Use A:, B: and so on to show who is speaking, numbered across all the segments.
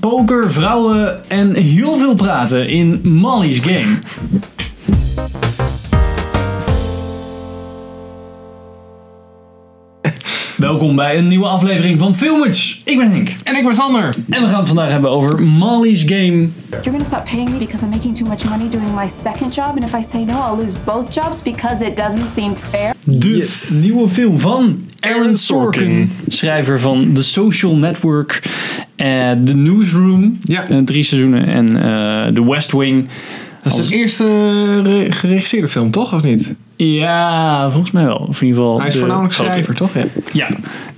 A: poker, vrouwen en heel veel praten in Molly's Game. Welkom bij een nieuwe aflevering van Filmers. Ik ben Henk
B: En ik ben Sander.
A: en we gaan het vandaag hebben over Molly's Game.
C: You're gonna stop paying me because I'm making too much money doing my second job, and if I say no, I'll lose both jobs because it doesn't seem fair.
A: De
B: Yes.
A: nieuwe film van Aaron Sorkin,
B: Sorkin.
A: schrijver van The Social Network, eh, The Newsroom,
B: Ja.
A: eh, drie seizoenen en eh, The West Wing.
B: Dat
A: dus-
B: is de eerste eh, re- geregisseerde film, toch? Of niet?
A: Ja, volgens mij wel. Of in ieder geval
B: Hij is
A: de
B: voornamelijk
A: grote.
B: schrijver, toch? Ja.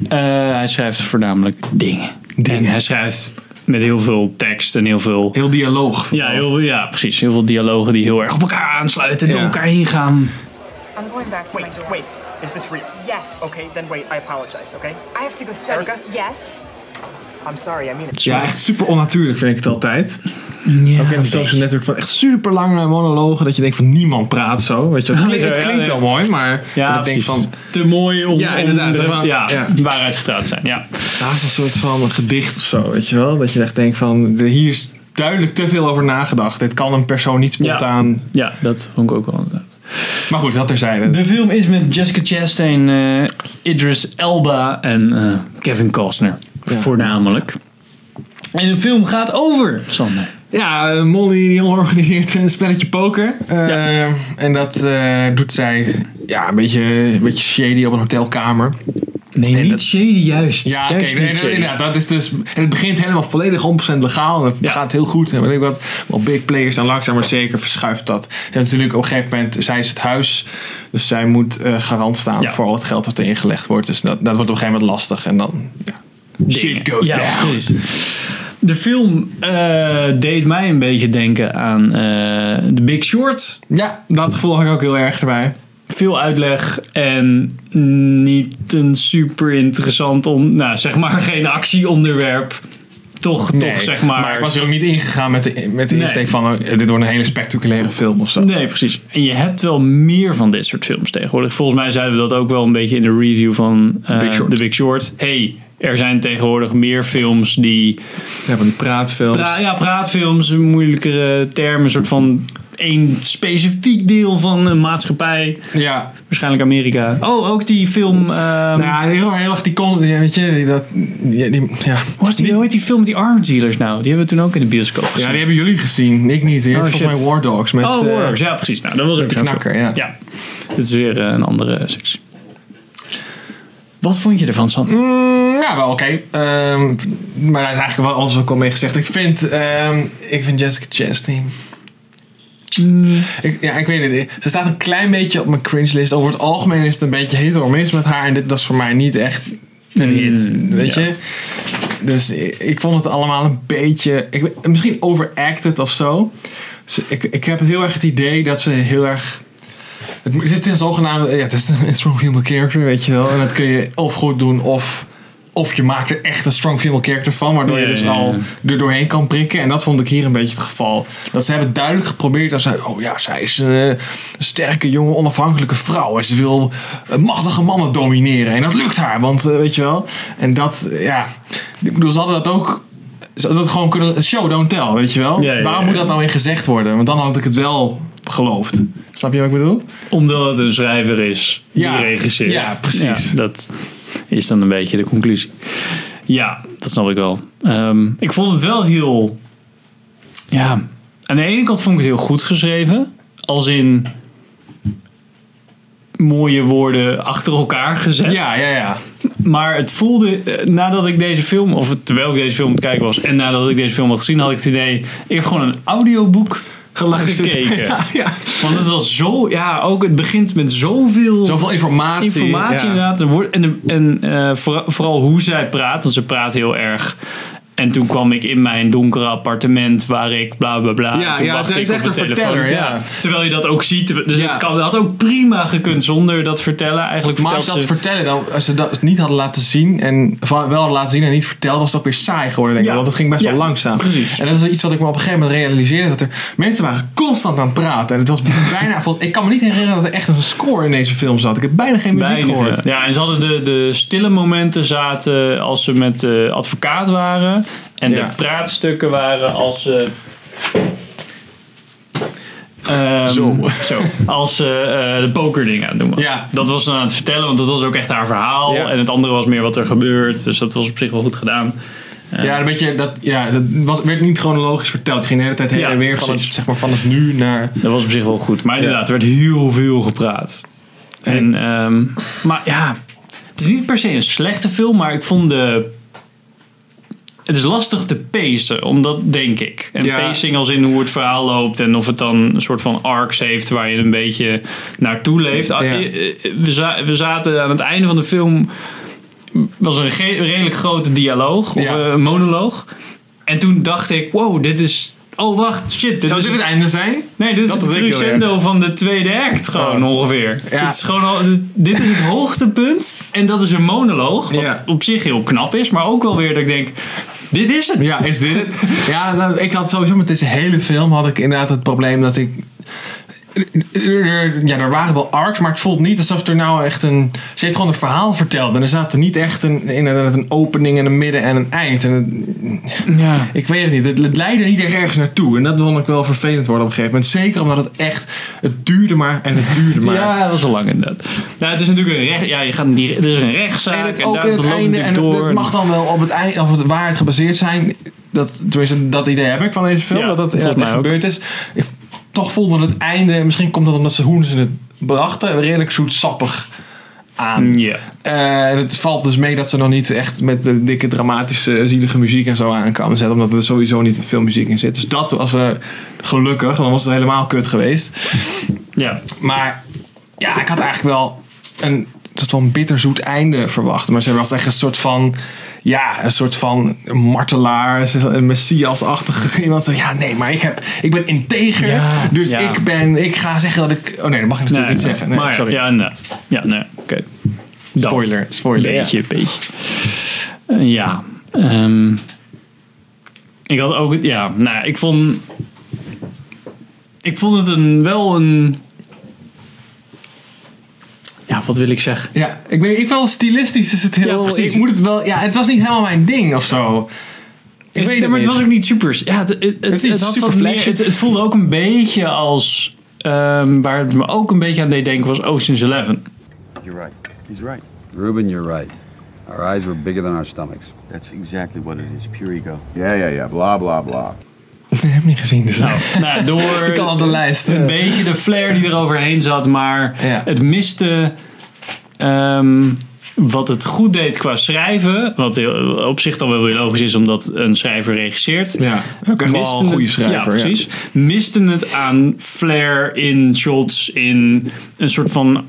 A: Ja, Eh, hij schrijft voornamelijk dingen.
B: Dingen.
A: En hij schrijft met heel veel tekst en heel veel...
B: Heel dialoog.
A: Ja, heel, veel- ja, precies. Heel veel dialogen die heel erg op elkaar aansluiten en
B: Ja.
A: door elkaar heen gaan.
D: I'm going back to
E: Wait, wait. Is this real?
C: Yes.
E: Okay, then wait. I apologize, okay?
C: I have to go study.
E: Erica?
C: Yes.
E: I'm sorry, I mean it.
B: Ja, echt super onnatuurlijk vind ik het altijd.
A: Ja,
B: Ook in het social network van echt super lange monologen. Dat je denkt van niemand praat zo. Weet je, wel. het klinkt, het
A: Ja,
B: klinkt
A: ja.
B: wel mooi, maar
A: Ja,
B: dat ik denk
A: precies.
B: van...
A: te mooi om,
B: Ja,
A: om
B: inderdaad,
A: de-
B: van-
A: ja,
B: ja.
A: waarheidsgetrouwd te zijn. Ja.
B: Naast een soort van een gedicht of zo, weet je wel. Dat je echt denkt van, de- hier is duidelijk te veel over nagedacht. Dit kan een persoon niet spontaan...
A: ja, dat vond ik ook wel inderdaad.
B: Maar goed, dat terzijde.
A: De film is met Jessica Chastain, eh, Idris Elba en eh, Kevin Costner. Voornamelijk. En de film gaat over, Sander.
B: Ja, eh, Molly die organiseert een spelletje poker. Eh,
A: Ja.
B: En dat eh, doet zij ja, een, beetje, een beetje shady op een hotelkamer.
A: Nee,
B: niet
A: shady juist.
B: Ja, oké. nee, nee, inderdaad, dat is dus... En het begint helemaal volledig 100% legaal. En het
A: Ja.
B: gaat heel goed. En weet ik wat. Wel big players en langzaam maar zeker verschuift dat. Ze natuurlijk op een gegeven moment... Zij is het huis. Dus zij moet eh, garant staan
A: Ja.
B: voor al het geld dat er ingelegd wordt. Dus dat, dat wordt op een gegeven moment lastig. En dan... Ja. Shit goes down.
A: De film eh, deed mij een beetje denken aan eh The Big Short.
B: Ja, dat gevoel had ik ook heel erg erbij.
A: veel uitleg en niet een super interessant, on, nou zeg maar geen actieonderwerp. Toch, toch zeg maar.
B: Maar ik was er ook niet ingegaan met de, met de
A: Nee.
B: insteek van eh, dit wordt een hele spectaculaire film of zo.
A: Nee, precies. En je hebt wel meer van dit soort films tegenwoordig. Volgens mij zeiden we dat ook wel een beetje in de review van eh,
B: Big Short.
A: The Big Short. Hey, er zijn tegenwoordig meer films die.
B: Ja, van die praatfilms.
A: Pra- ja, praatfilms, moeilijkere termen, een soort van één specifiek deel van een maatschappij.
B: ja.
A: Waarschijnlijk Amerika. Oh, ook die film. ehm,
B: Nou, heel, heel erg die kom, ja, weet je, die, dat, ja, die, ja.
A: Was die, hoe heet die film met die armdealers nou? Die hebben we toen ook in de bioscoop gezien.
B: ja, die hebben jullie gezien, ik niet. Die heet
A: Oh,
B: volgens
A: shit.
B: mij War Dogs met
A: oh,
B: eh,
A: Warriors. Ja, precies. Nou, dat was ook
B: de
A: zo'n
B: knakker,
A: film.
B: ja.
A: ja. Dit is weer eh, een andere sectie. Wat vond je ervan, San?
B: Mm, ja, wel oké. Ehm, maar daar is eigenlijk wel alles ook al mee gezegd. Ik vind, ehm, ik vind Jessica Chastain. Ik, ja, ik weet het. Ze staat een klein beetje op mijn cringe list. Over het algemeen is het een beetje hetero mis met haar. En dit was voor mij niet echt een
A: Mm,
B: hit. Weet
A: ja.
B: je? Dus ik, ik vond het allemaal een beetje. Ik, misschien overacted of zo. Dus ik, ik heb heel erg het idee dat ze heel erg. Het, het is een zogenaamde. Ja, het is een strong female character, weet je wel. En dat kun je of goed doen of. Of je maakt er echt een strong female character van, waardoor
A: Ja,
B: je dus
A: ja, ja.
B: al er doorheen kan prikken. En dat vond ik hier een beetje het geval. Dat ze hebben duidelijk geprobeerd. Dat ze, oh ja, zij is een, eh, een sterke, jonge, onafhankelijke vrouw. En ze wil eh, machtige mannen domineren. En dat lukt haar, want eh, weet je wel. En dat, eh, ja. Ik bedoel, ze hadden dat ook. Ze hadden dat gewoon kunnen. Show, don't tell, weet je wel.
A: Ja, ja,
B: Waarom
A: ja.
B: moet dat nou in gezegd worden? Want dan had ik het wel geloofd. Snap je wat ik bedoel?
A: Omdat het een schrijver is die
B: Ja.
A: regisseert.
B: Ja, precies.
A: Ja, dat is dan een beetje de conclusie. Ja, dat snap ik wel. Ehm, ik vond het wel heel... Ja, aan de ene kant vond ik het heel goed geschreven. Als in mooie woorden achter elkaar gezet.
B: Ja, ja, ja.
A: Maar het voelde, eh, nadat ik deze film, of terwijl ik deze film aan het kijken was en nadat ik deze film had gezien, had ik het idee, ik heb gewoon een audioboek
B: Geluisterd.
A: gekeken.
B: Ja, ja.
A: Want het was zo, ja, ook het begint met zoveel
B: Zoveel informatie.
A: informatie
B: ja.
A: inderdaad. Er wordt- En, en eh, vooral, vooral hoe zij praat, want ze praat heel erg. En toen kwam ik in mijn donkere appartement waar ik bla bla bla.
B: Ja,
A: en toen
B: ja,
A: wachtte
B: zij
A: ik op
B: is echt
A: de
B: een
A: telefoon.
B: verteller, ja.
A: Terwijl je dat ook ziet. Dus
B: Ja.
A: het, kan, het had ook prima gekund zonder dat vertellen. Eigenlijk
B: Maar als
A: vertelt
B: ze dat
A: ze-
B: vertellen, dan, als ze dat niet hadden laten zien en of wel hadden laten zien en niet verteld, was het ook weer saai geworden, denk ik.
A: Ja.
B: Want het ging best
A: Ja,
B: wel langzaam.
A: precies.
B: En dat is iets wat ik me op een gegeven moment realiseerde: dat er mensen waren constant aan het praten. En het was bijna. vol- Ik kan me niet herinneren dat er echt een score in deze film zat. Ik heb bijna geen muziek
A: Weinig,
B: gehoord.
A: ja. Ja, en ze hadden de, de stille momenten zaten als ze met de eh, advocaat waren. En
B: Ja.
A: de praatstukken waren als eh, ze. ehm,
B: Zo.
A: Als ze eh, de pokerdingen aan het doen was.
B: Ja.
A: Dat was dan aan het vertellen, want dat was ook echt haar verhaal.
B: Ja.
A: En het andere was meer wat er gebeurt. Dus dat was op zich wel goed gedaan.
B: Ja, een beetje, dat, ja, dat was, werd niet chronologisch verteld. Het ging de hele tijd heen
A: Ja,
B: en weer van het,
A: precies.
B: zeg maar, van het nu naar...
A: Dat was op zich wel goed. Maar inderdaad, er werd heel veel gepraat. En, ehm, maar ja, het is niet per se een slechte film, maar ik vond de... Het is lastig te pacen, omdat denk ik. En
B: Ja.
A: pacing als in hoe het verhaal loopt en of het dan een soort van arcs heeft waar je een beetje naartoe leeft. Ah,
B: Ja.
A: eh, eh, We, za- we zaten aan het einde van de film, was er een ge- een redelijk grote dialoog of
B: Ja.
A: eh, een monoloog. En toen dacht ik, wow, dit is... Oh, wacht, shit. Dit
B: Zou
A: is
B: dit het einde zijn?
A: Nee, dit is
B: Dat
A: het
B: weet ik heel
A: crescendo van de tweede act gewoon
B: Oh.
A: ongeveer.
B: Ja.
A: Het is gewoon al, dit- dit is het hoogtepunt en dat is een monoloog, wat
B: Ja.
A: op zich heel knap is, maar ook wel weer dat ik denk, dit is het.
B: Ja, is dit het? Ja, nou, ik had sowieso met deze hele film had ik inderdaad het probleem dat ik... Ja, er waren wel arcs, maar het voelt niet alsof er nou echt een... Ze heeft gewoon een verhaal verteld en er zaten niet echt een, inderdaad een opening en een midden en een eind. En het-
A: Ja.
B: ik weet het niet, het, het leidde niet echt ergens naartoe. En dat vond ik wel vervelend worden op een gegeven moment. Zeker omdat het echt... Het duurde maar en het duurde maar.
A: Ja, dat was al lang inderdaad. Nou, het is natuurlijk een recht, ja, je gaat niet, het is een rechtszaak
B: En
A: en,
B: het ook
A: daar
B: in het
A: dat loopt
B: einde, en
A: natuurlijk
B: het,
A: door.
B: het mag dan wel op het einde, of het waarheid gebaseerd zijn. Dat, tenminste, dat idee heb ik van deze film,
A: Ja,
B: dat dat
A: volgens
B: inderdaad
A: mij
B: echt
A: ook.
B: gebeurd is. Ik toch voelde het einde, misschien komt dat omdat ze hoe ze het brachten, redelijk zoetsappig aan.
A: Ja.
B: Eh, en het valt dus mee dat ze nog niet echt met de dikke dramatische zielige muziek en zo aan kan zetten. Omdat er sowieso niet veel muziek in zit. Dus dat was eh, gelukkig, dan was het helemaal kut geweest.
A: ja.
B: Maar ja, ik had eigenlijk wel een soort van bitterzoet einde verwacht. Maar ze was echt een soort van, ja, een soort van martelaar, een messiasachtige iemand. Zo, ja, nee, maar ik, heb, ik ben integer,
A: Ja,
B: dus
A: ja.
B: ik ben, ik ga zeggen dat ik, oh nee, dat mag ik natuurlijk
A: Nee,
B: niet zeggen. Nee,
A: maar ja,
B: sorry.
A: Ja, inderdaad. Ja, nee, oké. Dat.
B: Spoiler, spoiler.
A: Beetje, beetje. Eh, ja. ehm, ik had ook, ja, nou ja, ik vond, ik vond het een, wel een, ja, wat wil ik zeggen?
B: Ja, ik weet, ik vond stilistisch is het heel,
A: precies.
B: ik moet het wel, ja, het was niet helemaal mijn ding of zo. Ik
A: Ik
B: weet
A: weet
B: het
A: maar het
B: niet.
A: was ook niet super. Ja, het, het, het,
B: is niet
A: het had
B: super
A: wat meer-
B: flashy.
A: het, het voelde ook een beetje als. ehm, waar het me ook een beetje aan deed denken was Ocean's Eleven.
D: You're right.
F: He's right.
D: Ruben, you're right. Our eyes were bigger than our stomachs.
F: That's exactly what it is. Pure ego.
G: Yeah, yeah, yeah. Blah, blah, blah.
B: Ik heb niet gezien, dus nou,
A: Nou, door
B: ik kan op de lijst.
A: een beetje de flair die er overheen zat, maar
B: Eh. Ja.
A: het miste ehm, wat het goed deed qua schrijven. Wat heel- op zich dan wel weer logisch is, omdat een schrijver regisseert.
B: Ja, ook echt wel
A: Misten
B: een goede
A: het-
B: schrijver.
A: Ja, precies. Misten het aan flair in shots, in een soort van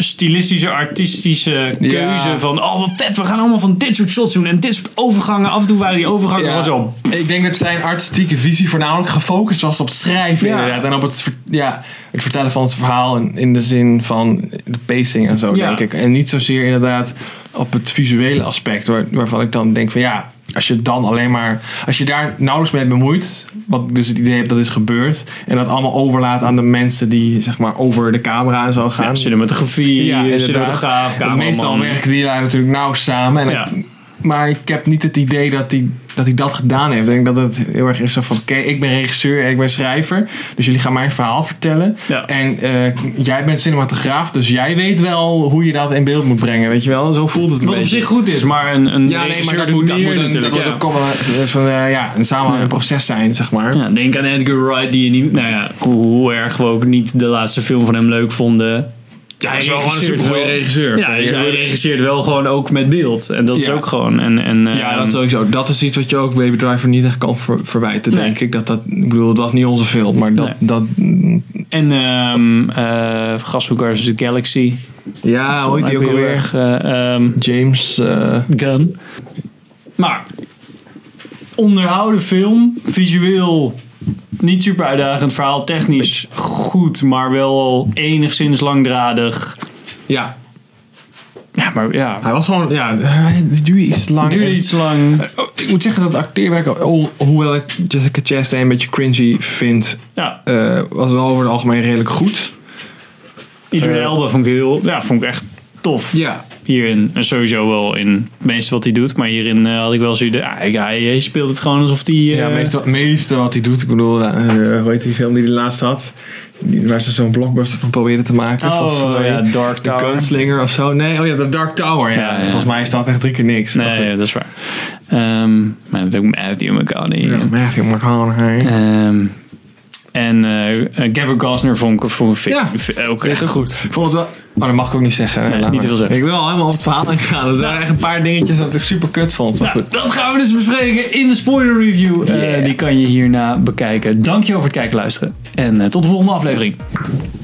A: stilistische, artistische keuze
B: Ja.
A: van oh wat vet, we gaan allemaal van dit soort shots doen en dit soort overgangen. Af en toe waren die overgangen
B: Ja.
A: gewoon zo
B: Ik denk dat zijn artistieke visie voornamelijk gefocust was op het schrijven
A: Ja.
B: inderdaad. En op het, ver- ja, het vertellen van het verhaal in, in de zin van de pacing en zo,
A: Ja.
B: denk ik. En niet zozeer inderdaad op het visuele aspect, waar, waarvan ik dan denk van ja, als je dan alleen maar, als je daar nauwelijks mee bemoeit, wat ik dus het idee heb dat is gebeurd, en dat allemaal overlaat aan de mensen die zeg maar over de camera en zo gaan.
A: Ja, cinematografie,
B: inderdaad.
A: cinematograaf, cameraman.
B: Meestal werken die daar natuurlijk nauw samen. En
A: Ja.
B: maar ik heb niet het idee dat hij dat, hij dat gedaan heeft. Ik denk dat het heel erg is zo van: oké, ik ben regisseur en ik ben schrijver. Dus jullie gaan mijn verhaal vertellen.
A: Ja.
B: En eh, jij bent cinematograaf, dus jij weet wel hoe je dat in beeld moet brengen. Weet je wel, zo voelt het een
A: Wat op
B: beetje.
A: zich goed is, maar een, een
B: ja, nee, maar
A: regisseur
B: dat
A: doet
B: moet, dat
A: meer
B: moet, een, dat
A: natuurlijk,
B: moet
A: ja.
B: ook wel een- van, eh, ja, een samenhangend
A: Ja.
B: proces zijn, zeg maar.
A: Ja, denk aan Edgar Wright, die je niet, nou ja, hoe, hoe erg we ook niet de laatste film van hem leuk vonden. Ja,
B: hij is wel gewoon een supergoeie regisseur.
A: Ja, hij, hij regisseert wel gewoon ook met beeld. En dat is
B: Ja.
A: ook gewoon. En, en,
B: Ja,
A: ehm,
B: dat sowieso. Dat is iets wat je ook Baby Driver niet echt kan ver- verwijten,
A: Nee.
B: denk ik. Dat dat, ik bedoel, het was niet onze film, maar dat...
A: Nee.
B: dat
A: En ehm eh Gast with Guardians of the Galaxy.
B: ja, Ah, hoe heet die ook
A: heel
B: alweer?
A: erg, eh, ehm,
B: James... eh,
A: Gun. Maar onderhouden film, visueel niet super uitdagend, verhaal technisch goed, maar wel enigszins langdradig.
B: ja,
A: Ja, maar ja,
B: Hij was gewoon, ja, het duurde iets lang.
A: duurde iets lang.
B: En- Oh, ik moet zeggen dat acteerwerk, al- hoewel ik Jessica Chastain een beetje cringy vind,
A: Ja,
B: eh, was wel over het algemeen redelijk goed.
A: Idris
B: Eh.
A: Elba vond ik heel, ja, vond ik echt tof.
B: Ja.
A: hierin, en sowieso wel in het meeste wat hij doet, maar hierin eh, had ik wel zoiets. ah, hij- hij speelt het gewoon alsof hij. eh,
B: Ja, meestal, meestal wat hij doet. Ik bedoel, eh, hoe heet die film die hij laatst had? Die- Waar ze zo'n blockbuster van probeerden te maken.
A: Oh,
B: eh,
A: ja, Dark
B: The
A: Tower.
B: Gunslinger of zo. Nee, oh ja, The Dark Tower. Ja.
A: Ja, ja.
B: Volgens mij staat echt drie keer niks. Maar
A: Nee,
B: goed.
A: ja, dat is waar. Ehm, maar dat is ook Matthew McConaughey.
B: Ja, Matthew McConaughey.
A: Ehm, en eh, eh, Gavin Gosner vond ik vond, ik-
B: Ja,
A: vind- ook
B: Echt
A: echt
B: goed. Ik vond het wel... Maar dat mag ik ook niet zeggen. hè.
A: Nee,
B: Laat
A: niet te
B: maar.
A: veel zeggen.
B: Ik wil helemaal over het verhaal ingaan. Er zijn echt een paar dingetjes dat ik super kut vond. Maar
A: Nou,
B: goed.
A: dat gaan we dus bespreken in de spoiler review. Eh,
B: Yeah.
A: die kan je hierna bekijken. Dankjewel voor het kijken en luisteren. En eh, tot de volgende aflevering.